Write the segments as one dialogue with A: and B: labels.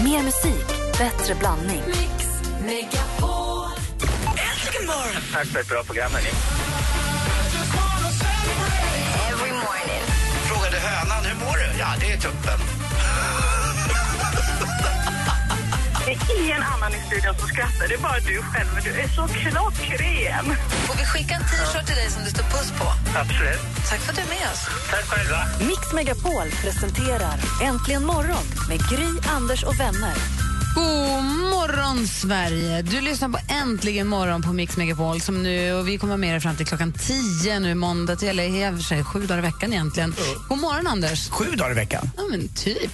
A: Mer musik, bättre blandning.
B: Mix Megapol. Äntligen morgon!
C: Tack för ett bra program, hörni. Frågade hönan, hur mår du? Ja, det är tuppen.
D: Det är ingen annan i studion som skrattar, det är bara du själv. men Du är så klockren.
B: Får vi skicka en t-shirt till dig som det står puss på?
C: Absolut.
B: Tack för att du är med oss.
C: Tack själva.
A: Mix Megapol presenterar Äntligen morgon med Gry, Anders och vänner.
E: God morgon, Sverige! Du lyssnar på Äntligen morgon på Mix Megapol. Som nu, och vi kommer med er fram till klockan 10 nu måndag, till, eller i och för sig sju dagar i veckan egentligen. God morgon, Anders!
F: Sju dagar i veckan.
E: Ja, men typ.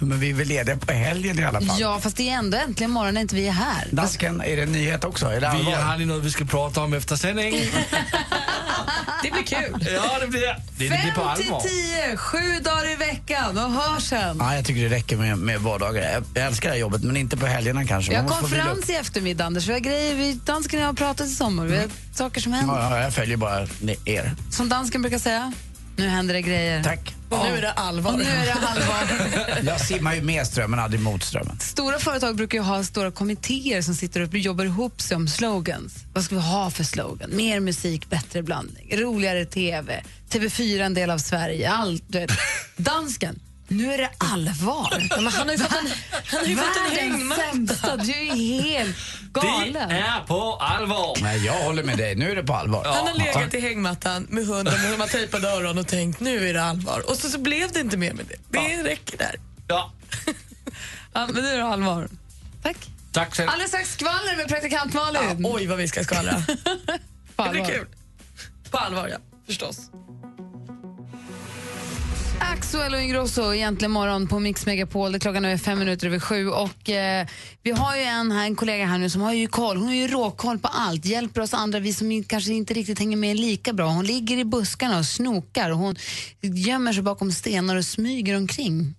F: Men vi är väl lediga på helgen i alla fall.
E: Ja, fast det är ändå äntligen morgon när inte vi är här.
F: Dansken, är det en nyhet också? Är det
G: Vi
F: allvar?
G: har ju något vi ska prata om efter sändning.
E: Det blir kul!
G: Ja, det blir det. Det blir på
E: Ah, Fem
G: allvar.
E: till tio, sju dagar i veckan och hör sen.
F: Ja, jag tycker det räcker med, med vardagar. Jag, jag älskar det här jobbet, men inte på helgerna kanske.
E: Vi har
F: Man måste få vila upp.
E: konferens i eftermiddag, Anders. Vi har grejer, vi, dansken och jag har pratat i sommar. Vi har saker som händer.
F: Ja, ja, jag följer bara ni- er.
E: Som dansken brukar säga, nu händer det grejer.
F: Tack.
E: Nu är det allvar. Och nu är det allvar.
F: Jag simmar ju med strömmen, aldrig mot strömmen.
E: Stora företag brukar ju ha stora kommittéer som sitter och jobbar ihop sig om slogans. Vad ska vi ha för slogan? Mer musik, bättre blandning, roligare TV, TV4 en del av Sverige, allt. du vet. Dansken, nu är det allvar. han har ju fått en, han har ju fått en sämsta, du är ju helt
G: Det
E: galen.
G: är på allvar.
F: Nej, jag håller med dig. Nu är det på allvar.
H: Han har
F: Tack.
H: legat i hängmattan med hunden och hur man tejpade öron och tänkt nu är det allvar. Och så, så blev det inte mer med det. Det räcker där.
G: Ja.
E: Ja, men nu är det allvar. Tack.
G: Tack så
E: Alldeles strax skvaller med praktikant
H: Ja,
E: Malin.
H: oj vad vi ska skvallra.
E: På
H: Det blir
E: allvar.
H: kul. På allvar ja, förstås.
E: Axel och Ingrosso egentligen morgon på Mix Megapol. Det klockan nu är fem minuter över sju. Och, eh, vi har ju en, här, en kollega här nu som har ju koll. Hon har ju råkoll på allt. Hjälper oss andra, vi som in- kanske inte riktigt hänger med lika bra. Hon ligger i buskarna och snokar. Och hon gömmer sig bakom stenar och smyger omkring.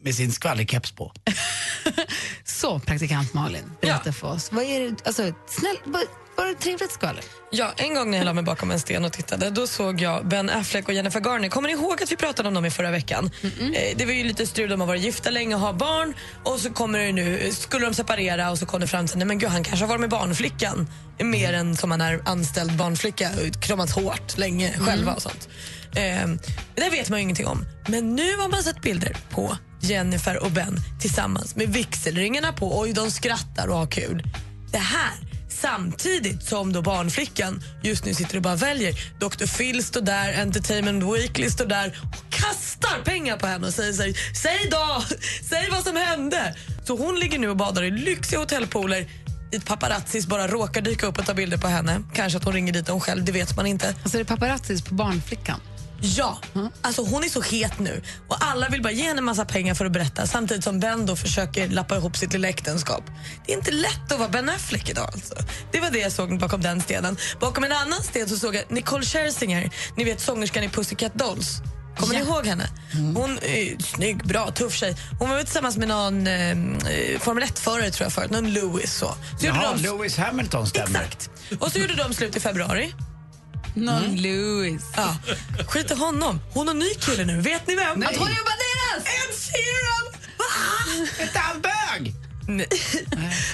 F: Med sin skvallerkeps på.
E: Så, praktikant Malin, berätta för oss. Vad är det, alltså, snäll, vad, vad är det trevligt skvaller?
H: Ja, en gång när jag la mig bakom en sten och tittade då såg jag Ben Affleck och Jennifer Garner. Kommer ni ihåg att vi pratade om dem i förra veckan? Eh, Det var ju lite strul, de har varit gifta länge och har barn och så kommer det nu, skulle de separera och så kom det fram till nej men gud han kanske har varit med barnflickan mer än som han är anställd barnflicka och kramats hårt länge själva och sånt. Eh, Det där vet man ju ingenting om. Men nu har man sett bilder på Jennifer och Ben tillsammans med vigselringarna på. Oj, de skrattar och har kul. Det här Samtidigt som då barnflickan just nu sitter och bara väljer. Dr Phil står där, Entertainment Weekly står där och kastar pengar på henne och säger sig, säg då, säg vad som hände. Så hon ligger nu och badar i lyxiga hotellpooler dit paparazzis bara råkar dyka upp och ta bilder på henne. Kanske att hon ringer dit hon själv, det vet man inte.
E: Alltså, är det paparazzis på barnflickan?
H: Ja, alltså hon är så het nu och alla vill bara ge henne en massa pengar för att berätta samtidigt som Ben då försöker lappa ihop sitt lilla äktenskap. Det är inte lätt att vara Ben Affleck idag alltså. Det var det jag såg bakom den stenen. Bakom en annan sten så såg jag Nicole Scherzinger, ni vet sångerskan i Pussycat Dolls. Kommer ni ihåg henne?
F: Mm.
H: Hon är snygg, bra, tuff tjej. Hon var väl tillsammans med någon eh, eh, Formel 1-förare tror jag förut, någon Lewis så. så gjorde
F: Jaha,
H: de-
F: Lewis Hamilton stämmer.
H: Exakt. Och så gjorde de slut i februari.
E: Någon Louis.
H: Ja. Skit i honom. Hon har ny kille nu. Vet ni vem?
E: Antonio Banderas!
H: Ed Sheeran!
F: Inte han bög?
H: Nej.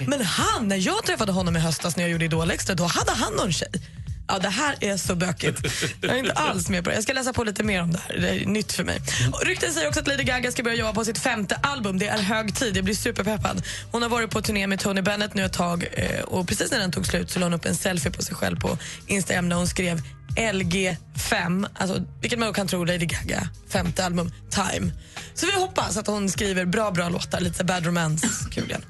H: Men han, när jag träffade honom i höstas när jag gjorde Idol Extra, då hade han någon tjej. Ja, det här är så bökigt. Jag är inte alls med på det. Jag ska läsa på lite mer om det här. Det är nytt för mig. Och rykten säger också att Lady Gaga ska börja jobba på sitt femte album. Det är hög tid. Jag blir superpeppad. Hon har varit på turné med Tony Bennett nu ett tag eh, och precis när den tog slut så la hon upp en selfie på sig själv på Instagram där hon skrev LG5, alltså, vilket man då kan tro Lady Gaga femte album, Time. Så vi hoppas att hon skriver bra, bra låtar, lite bad romance. Kul igen.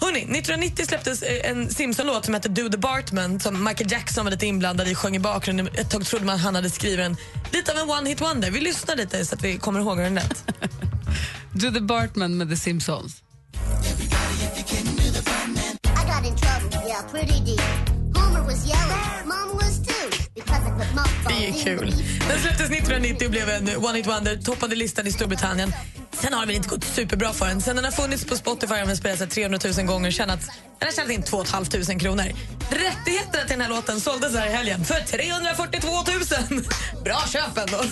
H: Hörrni, 1990 släpptes eh, en Simpson-låt som hette Do the Bartman som Michael Jackson var lite inblandad i, sjöng i bakgrunden. Ett tag trodde man han hade skrivit den. Lite av en one-hit wonder. Vi lyssnar lite så att vi kommer ihåg hur den lät.
E: Do the Bartman med The Simpsons.
I: I got in trouble, yeah, pretty deep. Homer was yelling, Mom was too, because I put my phone
H: Det är kul. Den släpptes 1990 och blev en One Hit Wonder, toppade listan i Storbritannien. Sen har det väl inte gått superbra för den. Sen den har funnits på Spotify har den spelats 300 000 gånger och tjänat, den har tjänat in 2 500 kronor. Rättigheterna till den här låten såldes här i helgen för 342 000. Bra köp ändå.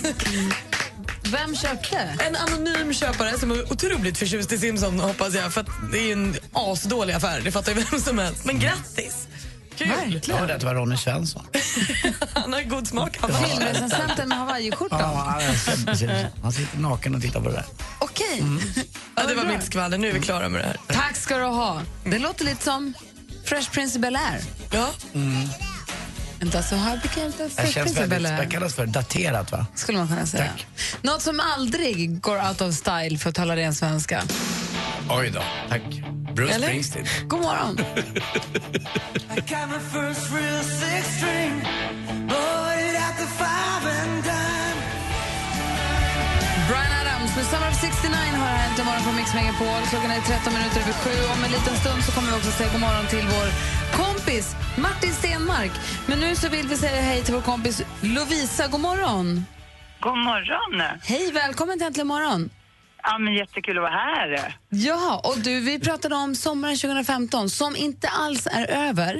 E: Vem köpte?
H: En anonym köpare som är otroligt förtjust i Simson hoppas jag, för att det är ju en asdålig affär, det fattar ju vem som helst. Men grattis! Kul!
J: Jag hörde att det var Ronny Svensson.
H: Han har god smak. Han
E: Filmrecensenten med hawaiiskjortan.
J: Ja, han är- precis. han sitter naken och tittar på det där.
E: Okej.
J: Mm.
H: Ja, det var mitt skvaller, nu är vi klara med det här.
E: Tack ska du ha. Det låter lite som Fresh Prince of Bel-Air.
H: Ja.
E: And that's how I became the
J: Det här
E: Fresh
J: känns
E: Prince of
J: väldigt, det
E: Bel-Air.
J: kallas för daterat va?
E: Skulle man kunna säga. Något som aldrig går out of style för att tala ren svenska.
J: Oj då, tack. Bruce
H: Eller?
J: Springsteen.
E: God morgon. Brian Adams med Summer of 69 har här äntligen morgon på Mix Megapol. Klockan är 13 minuter över sju. Om en liten stund så kommer vi också säga god morgon till vår kompis Martin Stenmark. Men nu så vill vi säga hej till vår kompis Lovisa. God morgon.
D: God morgon!
E: Hej, välkommen till Äntligen morgon.
D: Ja, men jättekul att vara här.
E: Ja, och du, vi pratade om sommaren 2015 som inte alls är över.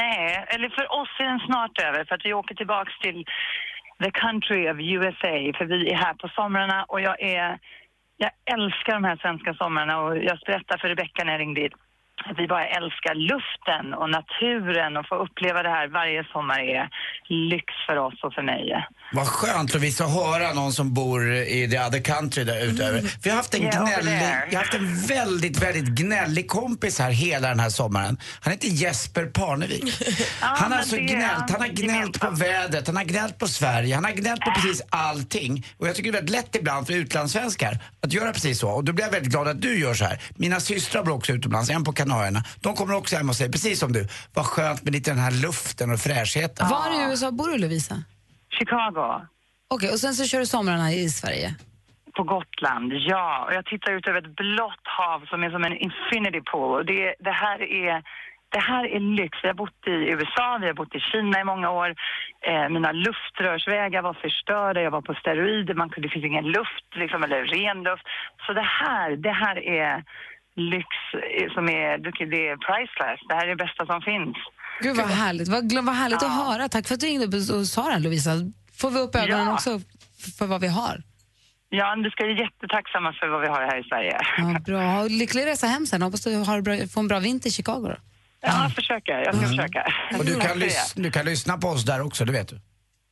D: Nej, eller för oss är den snart över för att vi åker tillbaks till the country of USA för vi är här på somrarna och jag är... Jag älskar de här svenska somrarna och jag berättade för Rebecca när jag ringde hit att vi bara älskar luften och naturen och få uppleva det här varje sommar är lyx för oss och för mig.
J: Vad skönt Lovisa att höra någon som bor i the other country där utöver.
D: Mm.
J: För jag har haft en
D: Yeah, over
J: gnällig,
D: there.
J: jag har haft en väldigt, väldigt gnällig kompis här hela den här sommaren. Han heter Jesper Parnevik. han har
D: men
J: alltså
D: det är
J: gnällt. Han har gnällt på
D: gemensamt.
J: vädret, han har gnällt på Sverige, han har gnällt på precis allting. Och jag tycker det är väldigt lätt ibland för utlandssvenskar att göra precis så. Och då blir jag väldigt glad att du gör så här. Mina systrar bor också utomlands, en på Kanarierna. De kommer också hem och säger precis som du, vad skönt med lite den här luften och fräschheten.
E: Var i USA bor du, Lovisa?
D: Chicago.
E: Okej, och sen så kör du somrarna i Sverige.
D: På Gotland, ja. Och jag tittar ut över ett blått hav som är som en infinity pool. Och det, det, här är, det här är lyx. Vi har bott i USA, vi har bott i Kina i många år. Eh, mina luftrörsvägar var förstörda, jag var på steroider, man kunde, det finns ingen luft, liksom, eller ren luft. Så det här, det här är lyx eh, som är, det är priceless. Det här är det bästa som finns.
E: Gud vad Ah. härligt, vad, gl- vad härligt att höra. Tack för att du ringde upp och sa det här, Lovisa. Får vi upp ögonen
D: Ja.
E: också f- för vad vi har?
D: Ja, vi ska vara jättetacksamma för vad vi har här i Sverige.
E: Ja, bra. Ha Lycklig resa hem sen. Hoppas du har bra, får en bra vinter i Chicago. Då.
D: Ja, jag försöker. Jag ska försöka.
J: Och du
D: Tack för
J: kan,
D: det.
J: lys- du kan lyssna på oss där också, det vet du.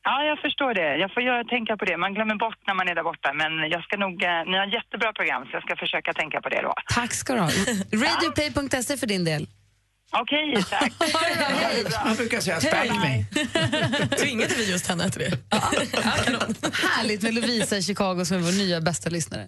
D: Ja, jag förstår det. Jag får göra, tänka på det. Man glömmer bort när man är där borta. Men jag ska nog, eh, ni har jättebra program så jag ska försöka tänka på det då.
E: Tack ska du ha. Radioplay.se E för din del.
D: Okej, tack.
J: Han brukar säga spank me.
H: Tvingade vi just henne till det?
E: Härligt med Lovisa i Chicago som är vår nya bästa lyssnare.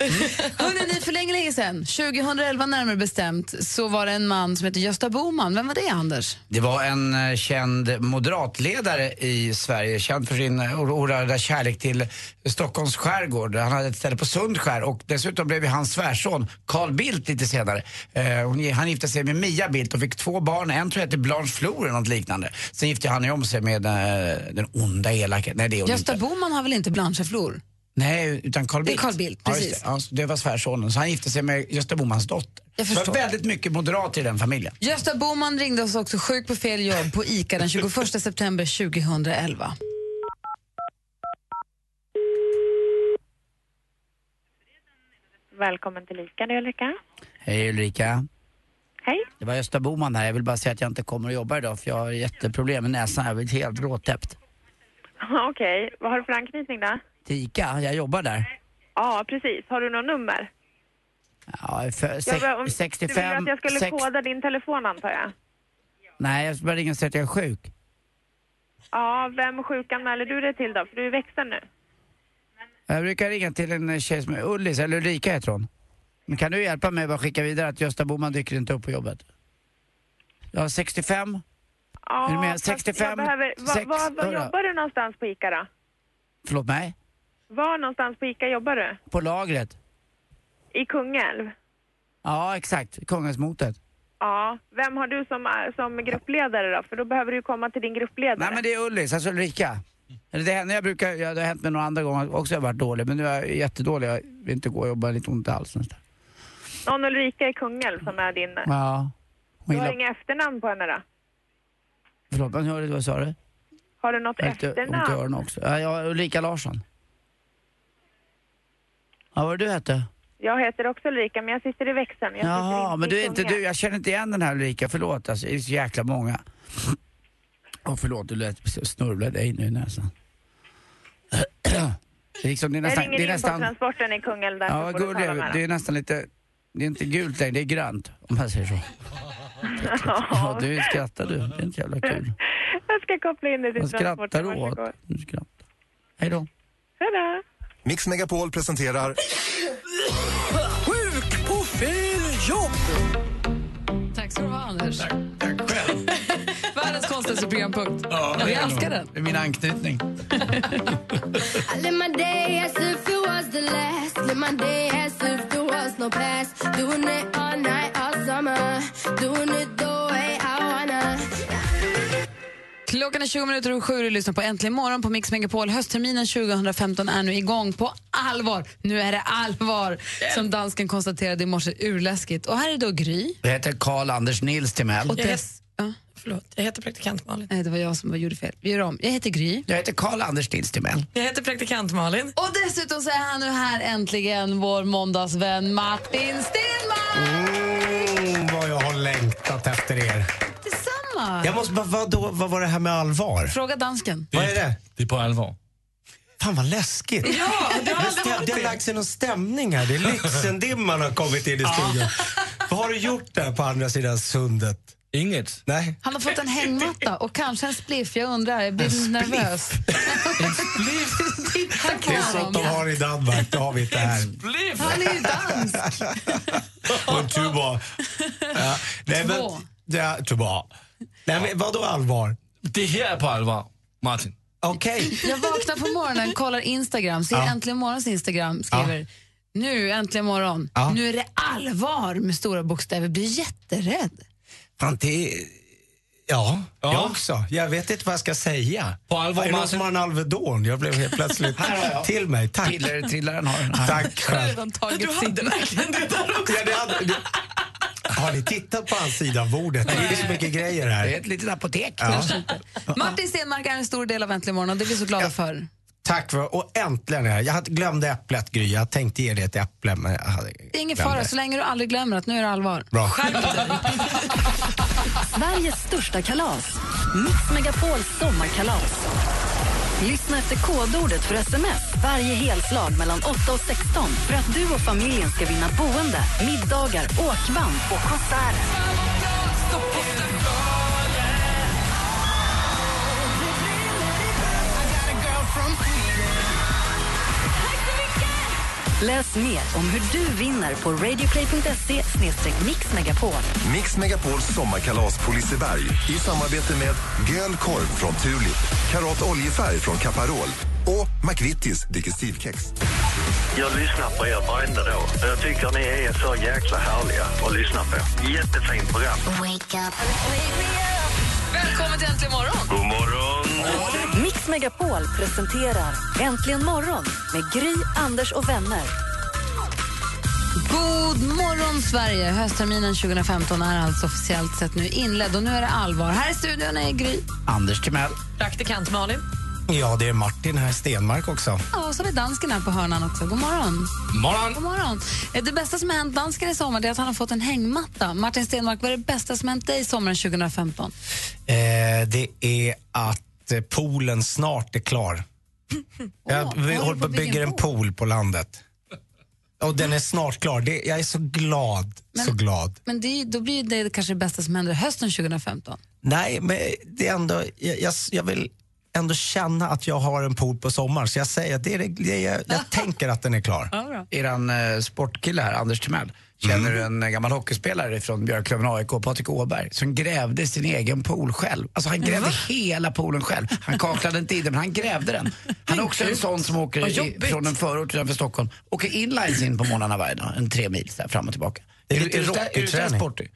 E: Hörrni, ni, för länge, länge sedan, 2011 närmare bestämt, så var det en man som heter Gösta Boman. Vem var det, Anders?
J: Det var en eh, känd moderatledare i Sverige, känd för sin eh, oerhörda kärlek till Stockholms skärgård. Han hade ett ställe på Sundskär och dessutom blev ju hans svärson Carl Bildt lite senare. Eh, hon- Han gifte sig med Mia Bildt och fick två barn. En tror jag hette Blanche Flor eller något liknande. Sen gifte han ju om sig med eh, den onda elaka... Nej, det är hon
E: Gösta
J: inte.
E: Boman har väl inte Blanche Flor?
J: Nej, utan Carl
E: Det är
J: Bildt.
E: Carl Bildt,
J: Ja, just
E: precis.
J: Det. Ja, så det var svärsonen. Så han gifte sig med Gösta Bomans dotter.
E: Jag
J: Så Det
E: förstår.
J: var väldigt mycket moderat i den familjen.
E: Gösta Boman ringde oss också sjuk på fel jobb på ICA den 21 september 2011.
K: Välkommen till ICA, det är Ulrika.
J: Hej Ulrika.
K: Hej.
J: Det var Gösta Boman här. Jag vill bara säga att jag inte kommer att jobba idag för jag har jätteproblem med näsan. Jag blir helt råtäppt.
K: Okej, vad har du för anknytning då?
J: Till Ica, jag jobbar där.
K: Ja, precis. Har du något nummer?
J: Ja, för
K: Jag
J: sex,
K: bara- om- Du ville
J: 65...
K: att jag skulle
J: sex,
K: koda din telefon antar jag?
J: nej, jag ska bara ringa och säga att jag är sjuk.
K: Ja, vem sjukanmäler du dig till då? För du är växten nu.
J: Jag brukar ringa till en eh, tjej som är Ullis, eller Ulrika heter hon. Men kan du hjälpa mig att skicka vidare att Gösta Boman dyker inte upp på jobbet? Jag har 65,
K: Ja,
J: Är du med?
K: fast
J: 65,
K: jag behöver... Va,
J: sex-
K: va, var
J: hörru.
K: jobbar du någonstans på ICA då?
J: förlåt mig,
K: Var någonstans på ICA jobbar du?
J: på lagret.
K: I Kungälv?
J: Ja, exakt. Kungsmotet.
K: Ja, vem har du som, äh, som gruppledare då? För då behöver du ju komma till din gruppledare.
J: Nej men det är Ullis, alltså Ulrika. Eller Det är henne jag brukar, ja, det har hänt mig några andra gånger också jag har varit dålig. Men nu är jag jättedålig, jag vill inte gå och jobba, lite ont i halsen. och sådär.
K: Någon Ulrika i Kungälv som är din...
J: Ja. Hon
K: Du har
J: gillar,
K: inga efternamn på henne då?
J: förlåt, men hörde du vad sa du?
K: Har du något
J: Jag har inte ont i
K: efternamn?
J: öronen också. Ja, jag har Ulrika Larsson.
L: Vad var det du hette?
K: Jag heter också Ulrika, men jag sitter i växeln. Jag sitter
L: Jaha,
K: i-
L: men
K: i
L: du är inte
K: Kungälv.
L: du. Jag känner inte igen den här Ulrika, förlåt alltså. Det är så jäkla många. Åh förlåt, du lät snurvla dig nu i näsan. Det är, liksom, det är
K: Jag
L: nästan...
K: ringer
L: det är
K: in på
L: nästan
K: transporten i Kungälv där
L: ja,
K: så
L: vad
K: får du
L: gullig.
K: tala med
L: Det är nästan lite... Det är inte gult längre, det är grönt. Om man säger så. Ja,
K: dem.
L: du skrattar du. Det är inte jävla kul.
K: Jag ska koppla in dig till
L: Vad skrattar
K: transporten.
L: du åt?
K: Varsågod.
L: Du skrattar. Hej då.
K: Hejdå.
M: Mix Megapol presenterar
E: Sjuk på fel jobb! Tack ska du ha, Anders. Tack, själv. Världens konstigaste programpunkt. Vi älskar den.
F: Det är min anknytning.
N: I live my day as if it was the last. Live my day as if there was no past. Doing it all night, all summer. Doing it the way I wanna.
E: Klockan är 20 minuter och sju och lyssnar på Äntligen morgon på Mix Megapol. Höstterminen 2015 är nu igång på allvar. Nu är det allvar, som dansken konstaterade i morse. Urläskigt. Och här är då Gry.
F: Jag heter Karl Anders Nils Timell.
E: Och dess... Ja. Förlåt, jag heter praktikant Malin. Nej, det var jag som gjorde fel. Vi gör om. Jag heter Gry.
F: Jag heter Karl Anders Nils Timell.
E: Jag heter praktikant Malin. Och dessutom så är han nu här äntligen, vår måndagsvän Martin Stenmarck!
J: Oh, vad jag har längtat efter er.
E: Detsamma!
J: Jag måste bara, vadå, vad var det här med allvar?
E: Fråga dansken.
J: Vad är det?
G: Det är på allvar.
J: Fan vad läskigt.
E: Ja, det har aldrig
J: stäm-
E: varit
J: det har
E: det.
J: lagt sig någon stämning här. Det är Lyxendimman har kommit in i studion. Vad har du gjort där på andra sidan sundet?
G: Inget.
J: Nej.
E: Han har fått en hängmatta och kanske en spliff. Jag undrar, jag blir nervös. Han
J: Det är
E: kan
J: sånt de
E: dem.
J: har i Danmark. Det har vi inte här.
E: Han är ju dansk.
J: Och en tuba. Ja, nej, men,
E: Två.
J: ja, tuba. Nej, men vadå allvar?
G: Det här är på allvar, Martin.
J: Okej.
E: Jag vaknar på morgonen, kollar Instagram, ser
G: Ja.
E: Äntligen Morgons Instagram, skriver nu, äntligen morgon.
J: Ja.
E: Nu är det allvar med stora bokstäver. Blir jätterädd.
J: Fan, det... Ja, jag också. Jag vet inte vad jag ska säga.
G: På allvar,
J: är det någon
G: Martin-
J: som har en Alvedon? Jag blev helt plötsligt till mig. Tack.
F: Trillare, trillaren har den.
J: Tack själv.
E: Du hade verkligen det där också.
J: Ja, det hade, det... Har ni tittat på hans sida av bordet? Det är ju så mycket grejer här.
F: Det är ett litet apotek.
J: Ja.
E: Martin Stenmarck är en stor del av Äntligen morgon och det är vi så glada för.
J: Tack för och äntligen är jag. Jag hade- glömde äpplet Gry. Jag tänkte ge dig ett äpple men jag hade
E: Det är ingen
J: glömt
E: fara
J: det.
E: så länge du aldrig glömmer att nu är det allvar.
J: Bra.
A: Sveriges största kalas. Mix Megapols sommarkalas. Lyssna efter kodordet för sms varje helslag mellan 8 och 16 för att du och familjen ska vinna boende, middagar, åkvamp och konserter. Läs mer om hur du vinner på radioplay.se mixmegapol.
M: Mix Megapols sommarkalas på Liseberg i samarbete med Göl korv från Tulip, Karat oljefärg från Caparol och McVittys digestivkex.
C: Jag lyssnar på er varenda dag. Jag tycker ni är så jäkla härliga att lyssna på. Jättefint program.
E: Välkommen till Äntligen morgon!
C: God morgon!
A: Mix Megapol presenterar Äntligen morgon med Gry, Anders och vänner.
E: God morgon, Sverige! Höstterminen 2015 är alltså officiellt sett nu inledd och nu är det allvar. Här i studion är Gry.
F: Anders Timell.
H: Praktikant Malin.
J: Ja, det är Martin här, Stenmark också.
E: Ja, och så är dansken här på hörnan också. God morgon.
G: Morgon.
E: God morgon. Eh, Det bästa som har hänt dansken i sommar det är att han har fått en hängmatta. Martin Stenmark, vad är det bästa som har hänt dig sommaren 2015?
J: Eh, det är att eh, poolen snart är klar. jag, vi
E: håller
J: håller
E: på att
J: på och
E: bygga
J: bygger
E: en
J: en pool på landet. Och den är snart klar. Det, jag är så glad, så glad.
E: Men det är, ju- då blir ju det kanske det bästa som händer hösten 2015.
J: Nej, men det är ändå, jag, jag, jag vill ändå känna att jag har en pool på sommaren. Så jag säger att det är, det- det är, jag tänker att den är klar.
F: Eran eh, sportkille här, Anders Timell, känner
J: Mm.
F: du en eh, gammal hockeyspelare från Björklöven AIK, Patrik Åberg, som grävde sin egen pool själv. Alltså han grävde hela poolen själv. Han kaklade inte i den, men han grävde den. Han är också en sån som åker
J: Vad
F: i,
J: jobbigt.
F: från en förort utanför Stockholm, åker inlines in på morgnarna varje dag, en tre mil så här, fram och tillbaka.
J: Det är
F: du-
J: lite
F: du där- du där
J: rockerträning.
F: sportig?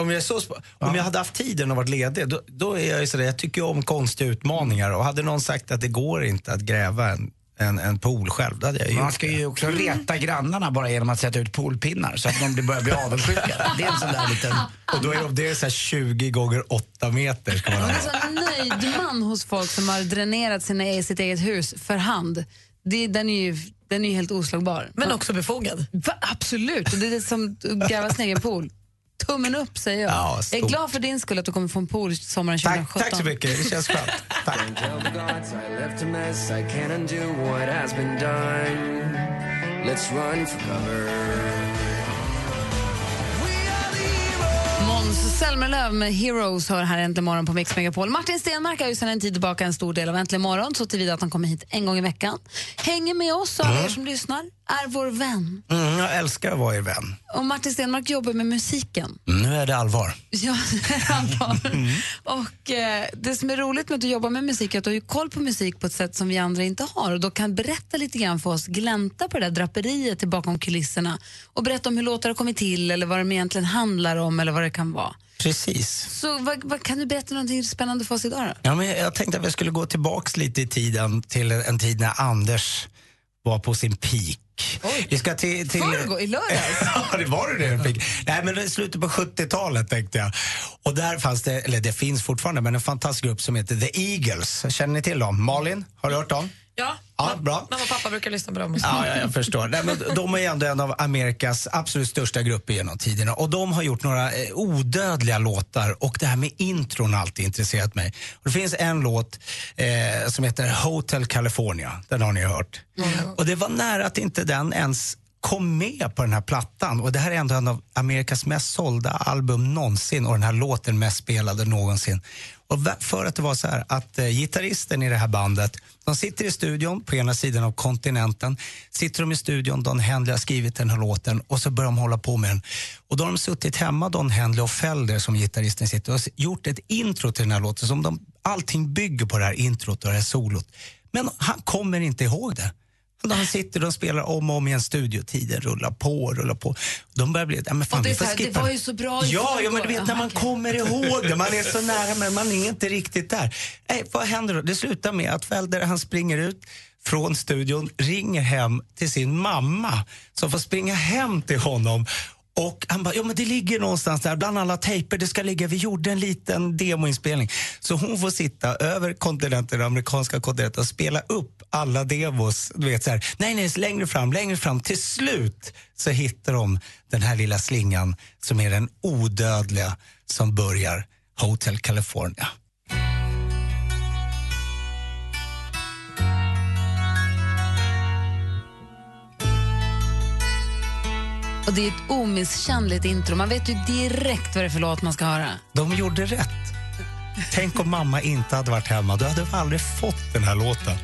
J: Om jag, är så, sp- om jag hade haft tiden och varit ledig, då, då är jag ju sådär, jag tycker ju om konstiga utmaningar. Och hade någon sagt att det går inte att gräva en, en, en pool själv, då hade jag ju
F: Man
J: gjort
F: ska
J: det.
F: ju också reta grannarna bara genom att sätta ut polpinnar så att de blir- börjar bli avundsjuka. Det är en sån där liten...
J: Och då är de, det är så här 20 gånger 8 meter. Ska man
E: Han
J: ha.
E: är så en e- nöjd man hos folk som har dränerat sina, sitt eget hus för hand. Det, den är ju, Den är ju helt oslagbar.
H: Men också befogad.
E: Va? Absolut, och det är det som gräva sin egen pool. Tummen upp säger jag.
J: Ja,
E: jag är
J: stor.
E: glad för din skull att du kommer få en pool sommaren 2017.
J: Tack så mycket, det känns skönt. Tack.
E: Måns Zelmerlöw med Heroes hör här Äntligen morgon på Mix Megapol. Martin Stenmark är ju sedan en tid tillbaka en stor del av Äntligen morgon så tillvida att han kommer hit en gång i veckan. Hänger med oss och alla
J: Mm.
E: er som lyssnar, är vår vän.
J: Mm, jag älskar att vara er vän.
E: Och Martin Stenmark jobbar med musiken.
J: Nu är det allvar.
E: Ja, antagligen. Och eh, det som är roligt med att du jobbar med musik är att du har ju koll på musik på ett sätt som vi andra inte har och då kan berätta lite grann för oss, glänta på det där draperiet till bakom kulisserna och berätta om hur låtar har kommit till eller vad de egentligen handlar om eller vad det kan vara.
J: Precis.
E: Så vad, vad, kan du berätta någonting spännande för oss idag då?
J: Ja, men jag tänkte att vi skulle gå tillbaks lite i tiden till en, en tid när Anders var på sin peak. Vi ska till... till...
E: Förrgår, i lördags?
J: Ja, det var det det fick. Nej, men i slutet på 70-talet tänkte jag. Och där fanns det, eller det finns fortfarande, men en fantastisk grupp som heter The Eagles. Känner ni till dem? Malin, har du hört dem?
H: Ja,
J: Ja, bra.
H: mamma och pappa brukar lyssna på dem.
J: Ja, ja, jag förstår. Nej, men de är ju ändå en av Amerikas absolut största grupper genom tiderna. Och de har gjort några eh, odödliga låtar och det här med intron har alltid intresserat mig. Och det finns en låt eh, som heter Hotel California. Den har ni ju hört. Och det var nära att inte den ens kom med på den här plattan. Och det här är ändå en av Amerikas mest sålda album någonsin och den här låten mest spelade någonsin. Och va- för att det var så här att eh, gitarristen i det här bandet, de sitter i studion på ena sidan av kontinenten. Sitter de i studion, Don Henley har skrivit den här låten och så börjar de hålla på med den. Och då har de suttit hemma, Don Henley och Felder som gitarristen sitter och s- gjort ett intro till den här låten. Som de, allting bygger på det här introt och det här solot. Men han kommer inte ihåg det. När han sitter och spelar om och om igen studiotiden rullar på och rullar på. De börjar bli... Ja, men fan,
E: Och det är
J: vi får
E: så här, det
J: skippa
E: var
J: den.
E: ju så bra i
J: Ja,
E: förrgår.
J: ja, men du vet när
E: Jaha,
J: man kommer ihåg det. Man är så nära men man är inte riktigt där. Nej, vad händer då? Det slutar med att Felder han springer ut från studion, ringer hem till sin mamma som får springa hem till honom. Och han bara, ja men det ligger någonstans där bland alla tejper, det ska ligga, vi gjorde en liten demoinspelning. Så hon får sitta över kontinenten, den amerikanska kontinenten och spela upp alla demos. Du vet så här, nej nej, längre fram, längre fram. Till slut så hittar de den här lilla slingan som är den odödliga som börjar Hotel California.
E: Och det är ett omisskännligt intro. Man vet ju direkt vad det är för låt man ska höra.
J: De gjorde rätt. Tänk om mamma inte hade varit hemma, då hade vi aldrig fått den här låten.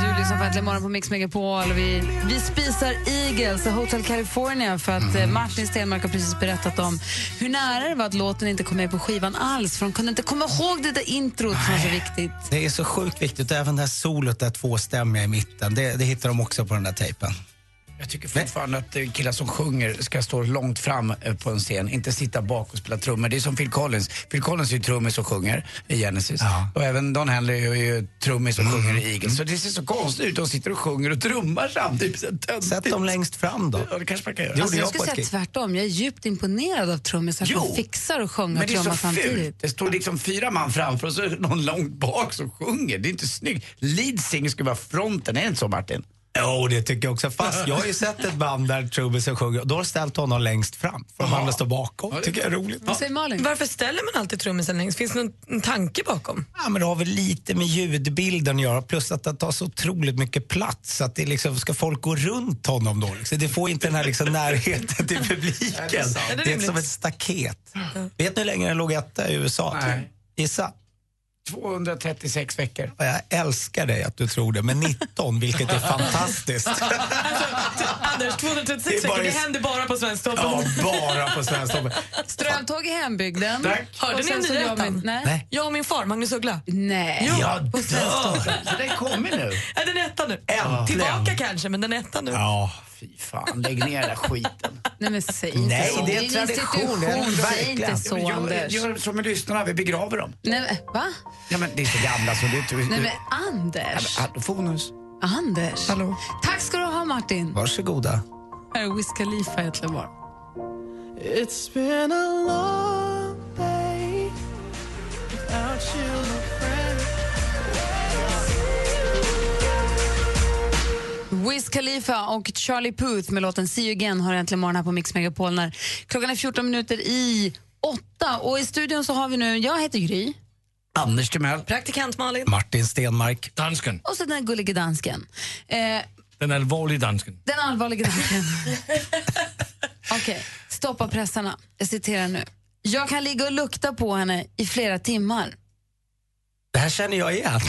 E: Du lyssnar på Äntligen morgon på Mix Megapol. Vi, vi spisar Eagles och Hotel California för att eh, Martin Stenmark har precis berättat om hur nära det var att låten inte kom med på skivan alls för de kunde inte komma ihåg det där introt som var så viktigt.
J: Det är så sjukt viktigt, även det här solot, det här tvåstämmiga i mitten, det, det hittar de också på den där tejpen.
F: Jag tycker fortfarande att eh, killar som sjunger ska stå långt fram eh, på en scen, inte sitta bak och spela trummor. Det är som Phil Collins. Phil Collins är ju trummis och sjunger i Genesis. Och även Don Henley är ju trummis
J: Mm.
F: och sjunger i Eagles. Så det ser så konstigt ut. De sitter och sjunger och trummar samtidigt. Sätt
J: dem längst fram då.
F: Ja, det kanske man kan göra.
E: Alltså, jag skulle säga tvärtom. Jag är djupt imponerad av trummisen
F: Jo,
E: att de fixar och sjunger
F: Men
E: och
F: det är så
E: trummar
F: fult.
E: samtidigt.
F: Det står liksom fyra man framför och så är det någon långt bak som sjunger. Det är inte snyggt. Lead singer ska vara fronten, är det inte så Martin?
J: Jo, det tycker jag också. Fast jag har ju sett ett band där trummisen sjunger och då har de ställt honom längst fram för de andra står bakom. tycker jag är roligt.
H: Varför ställer man alltid trummisen längst? Finns det någon en tanke bakom?
J: Ja, men det har väl lite med ljudbilden att göra plus att det tar så otroligt mycket plats så att det liksom, ska folk gå runt honom då? Liksom. Det får inte den här liksom, närheten till publiken.
L: Ja,
J: Det
L: det är
J: är,
L: sant. Ja, det är rimligt.
J: som ett staket. Vet ni hur länge den låg etta i USA?
F: Nej.
J: Gissa.
F: 236 veckor.
J: Och jag älskar dig att du tror det, men 19, vilket är fantastiskt.
H: Alltså, Anders, 236
J: Det är bara-
H: veckor, det händer bara på Svensktoppen.
J: Ja, bara på Svensktoppen.
E: Strömtåg i hembygden.
J: Tack.
H: Hörde
E: Och
H: ni
E: sen
H: om
E: så jag
H: nyheten?
E: min- Nej.
J: Nej.
H: Jag och min far, Magnus Uggla.
E: Nej.
H: Jo,
J: Jag
H: på Svensktoppen.
F: Så den kommer nu.
H: Ja, den är etta nu.
J: Äntligen.
H: Tillbaka kanske, men den är etta nu.
J: Ja,
F: fy fan. Lägg ner den där skiten.
E: Nej, men säg inte
F: Nej,
E: så.
F: det är
E: en
F: tradition.
E: institution. Säg inte
F: Verkligen.
E: så,
F: Gör-
E: Anders.
F: Gör som med lyssnarna, vi begraver dem.
E: Nej, men- va?
F: Ja, men det är så gamla så det är...
E: Nej, men Anders.
F: Fonus.
E: Anders. Hallå. Tack ska du ha, Martin.
J: Varsågoda.
E: Här är Wiz Khalifa i Ätla Bar.
O: It's been a long day without you, my friend.
E: Wiz Khalifa och Charlie Puth med låten See You Again har äntligen morgon här på Mix Megapol. När klockan är 14 minuter i åtta och i studion så har vi nu, jag heter Gry
F: Anders Timell.
E: Praktikant Malin.
J: Martin Stenmark.
G: Dansken.
E: och så den här gullige dansken. Eh,
G: Den allvarliga dansken.
E: Den allvarliga tanken. Okej, stoppa pressarna. Jag citerar nu. Jag kan ligga och lukta på henne i flera timmar.
J: Det här känner jag igen.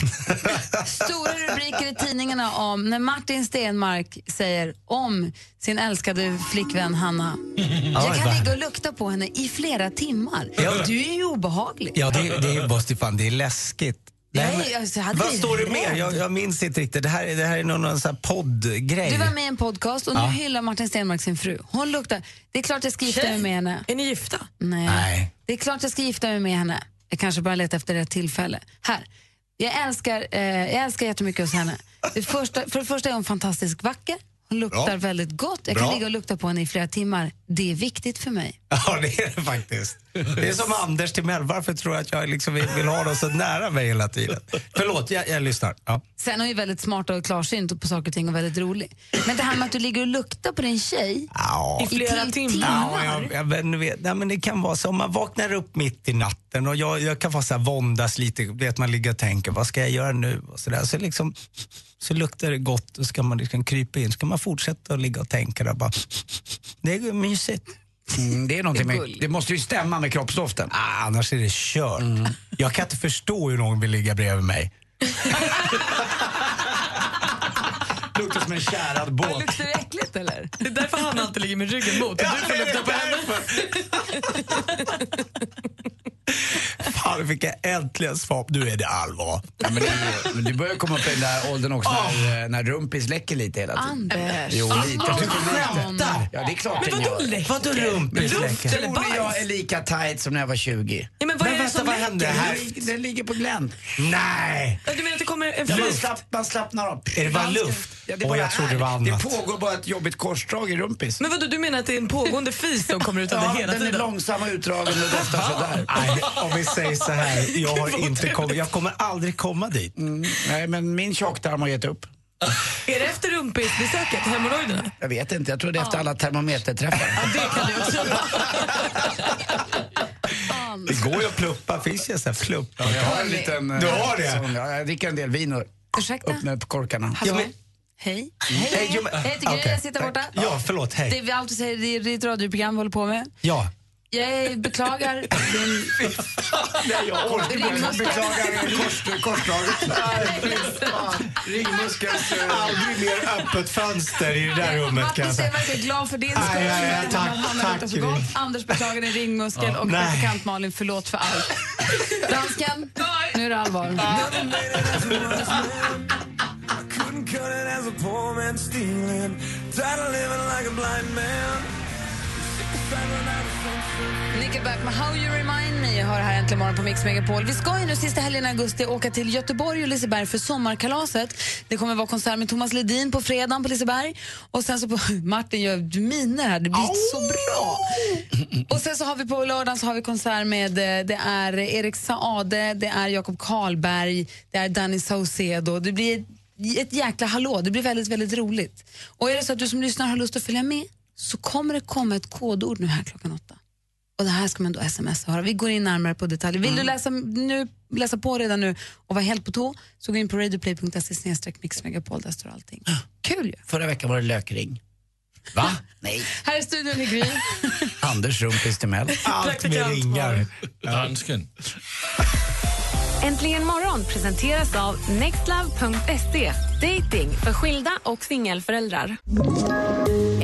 E: Stora rubriker i tidningarna om när Martin Stenmark säger om sin älskade flickvän Hanna. Jag
J: Oj,
E: kan
J: vad-
E: ligga och lukta på henne i flera timmar.
J: Ja.
E: Du är ju obehaglig.
J: Ja, det, det är bara Stefan, det är läskigt.
E: Nej,
J: men-
E: alltså, jag hade
J: vad
E: blivit
J: står det
E: rädd.
J: mer? Jag, jag minns inte riktigt. Det här, är- det här är någon, någon sån här poddgrej.
E: Du var med i en podcast och nu
J: Ja.
E: hyllar Martin Stenmark sin fru. Hon luktar... Det är klart jag ska gifta mig med henne.
H: Är ni gifta?
E: Nej.
J: Nej.
E: Det är klart jag ska gifta mig med henne. Jag kanske bara letar efter rätt tillfälle. Här. Jag älskar, eh, jag älskar jättemycket hos henne. Det första, för det första är hon fantastiskt vacker. Hon luktar
J: Bra.
E: väldigt gott. Jag
J: Bra.
E: kan ligga och lukta på henne i flera timmar. Det är viktigt för mig.
J: Ja, det är det faktiskt. Det är som Anders Timell. Varför tror jag att jag liksom vill, vill ha dem så nära mig hela tiden? Förlåt, jag, jag lyssnar. Ja.
E: Sen är hon ju väldigt smart och klarsynt och på saker och ting och väldigt rolig. Men det här med att du ligger och luktar på din tjej
J: Ja.
E: till-
J: Ja, jag, jag, vet- nu vet, nej, men det kan vara så om man vaknar upp mitt i natten och jag, jag kan vara så här våndas lite, vet man ligger och tänker vad ska jag göra nu och så där. Så, liksom, så luktar det gott och så kan man liksom krypa in, så kan man fortsätta att ligga och tänka där bara. Det är mysigt.
F: Mm, det är någonting med, det måste ju stämma med kroppsdoften. Mm.
J: Ah, annars är det kört. Jag kan inte förstå hur någon vill ligga bredvid mig. Luktar som en tjärad båt.
E: Luktar det äckligt eller?
H: Det är därför han alltid ligger med ryggen mot. Och du får lukta på henne.
J: Fan, nu fick jag äntligen svar. Nu är det allvar. Ah.
F: Ja, men du, men du börjar komma upp i den där åldern också när, eh, när rumpis läcker lite hela tiden.
E: Anders.
F: Jo, lite.
E: Anders.
F: Du skämtar! Ja, det är klart
H: Men
F: den
H: vadå
F: gör.
H: läcker?
J: Vadå rumpis
F: Luft
J: läcker?
F: eller bajs? Tror ni jag är lika tight som när jag var 20?
H: Ja, men vad är det som läcker?
F: Den, ligger på glänt.
J: Nej!
H: Ja, Du menar att det kommer en
F: Ja, man,
H: fluga?
F: slapp, man slappnar av.
J: Är det bara
F: Man-
J: luft?
F: Ja, det
J: Åh,
F: bara
J: jag trodde det
F: är.
J: var annat.
F: Det pågår bara ett jobbigt korsdrag i rumpis.
H: Men vadå, du menar att det är en pågående fis som kommer ut av
F: Ja,
H: det hela
F: den är
H: tiden?
F: långsam och utdragen och doftar sådär.
J: Nej, om vi säger så här, jag, har inte kommit, jag kommer aldrig komma dit.
F: Mm. Nej, men min tjocktarm har gett upp.
H: Är det efter rumpisbesöket, hemorrojderna?
F: Jag vet inte, jag tror det är efter alla termometerträffar.
J: Det går ju att pluppa, finns ju så här flupp.
F: Ja, jag har en liten... eh,
J: Du har det?
F: sån. Ja, jag dricker en del vin och
E: Ursäkta?
F: upp med korkarna.
E: Hallå? Alltså, Hej. Hej.
J: Mm. Eh, jo, men-
E: Jag heter Gry,
J: okej.
E: jag sitter borta.
J: Ja, förlåt,
E: Det är
J: hej.
E: vi alltid säger, det är ditt radioprogram vi håller på med.
J: Ja.
E: Jag beklagar din...
F: Nej, jag orkar inte. Jag beklagar kors- korslaget. eh, Ringmuskels...
J: Aldrig mer öppet fönster i det där rummet kan jag
E: Martin
J: säga.
E: Stenmarck är glad för din skull.
J: Aj, aj, aj,
E: men
J: tack,
E: han hamnar
J: tack,
E: utanför
J: Gry.
E: gott. Anders beklagar din ringmuskel och
J: Nej.
E: praktikant Malin, förlåt för allt. Dansken, nu är det allvar. Nickelback med How You Remind Me hör här äntligen morgon på Mix Megapol. Vi ska ju nu sista helgen i augusti åka till Göteborg och Liseberg för sommarkalaset. Det kommer vara konsert med Thomas Ledin på fredagen på Liseberg. Och sen så på, Martin gör miner här, det blir så bra. Och sen så har vi på lördagen så har vi konsert med eh, det är Erik Saade, det är Jakob Karlberg, det är Danny Saucedo. Det blir ett, ett jäkla hallå, det blir väldigt, väldigt roligt. Och är det så att du som lyssnar har lust att följa med så kommer det komma ett kodord nu här klockan åtta. Och det här ska man då smsa höra. Vi går in närmare på detaljer. Vill du läsa, nu, läsa på redan nu och vara helt på tå så gå in på radioplay.se mixmegapol. Där står allting. Kul ju!
F: Förra veckan var det lökring. Va? Nej.
E: Här i studion är Gry.
F: Anders Rumpis Timell.
J: Allt med ringar.
G: Dansken.
P: Äntligen morgon presenteras av nextlove.se. Dating för skilda och singelföräldrar.